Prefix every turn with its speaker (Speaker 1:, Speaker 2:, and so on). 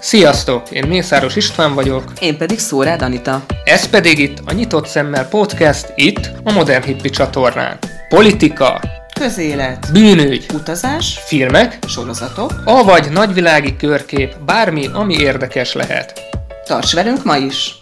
Speaker 1: Sziasztok! Én Mészáros István vagyok,
Speaker 2: Én pedig Szórád Anita.
Speaker 1: ez pedig itt a Nyitott Szemmel Podcast, itt a Modern Hippi csatornán. Politika,
Speaker 2: Közélet,
Speaker 1: bűnügy,
Speaker 2: utazás,
Speaker 1: filmek,
Speaker 2: sorozatok.
Speaker 1: avagy nagyvilági körkép, bármi, ami érdekes lehet.
Speaker 2: Tarts velünk ma is!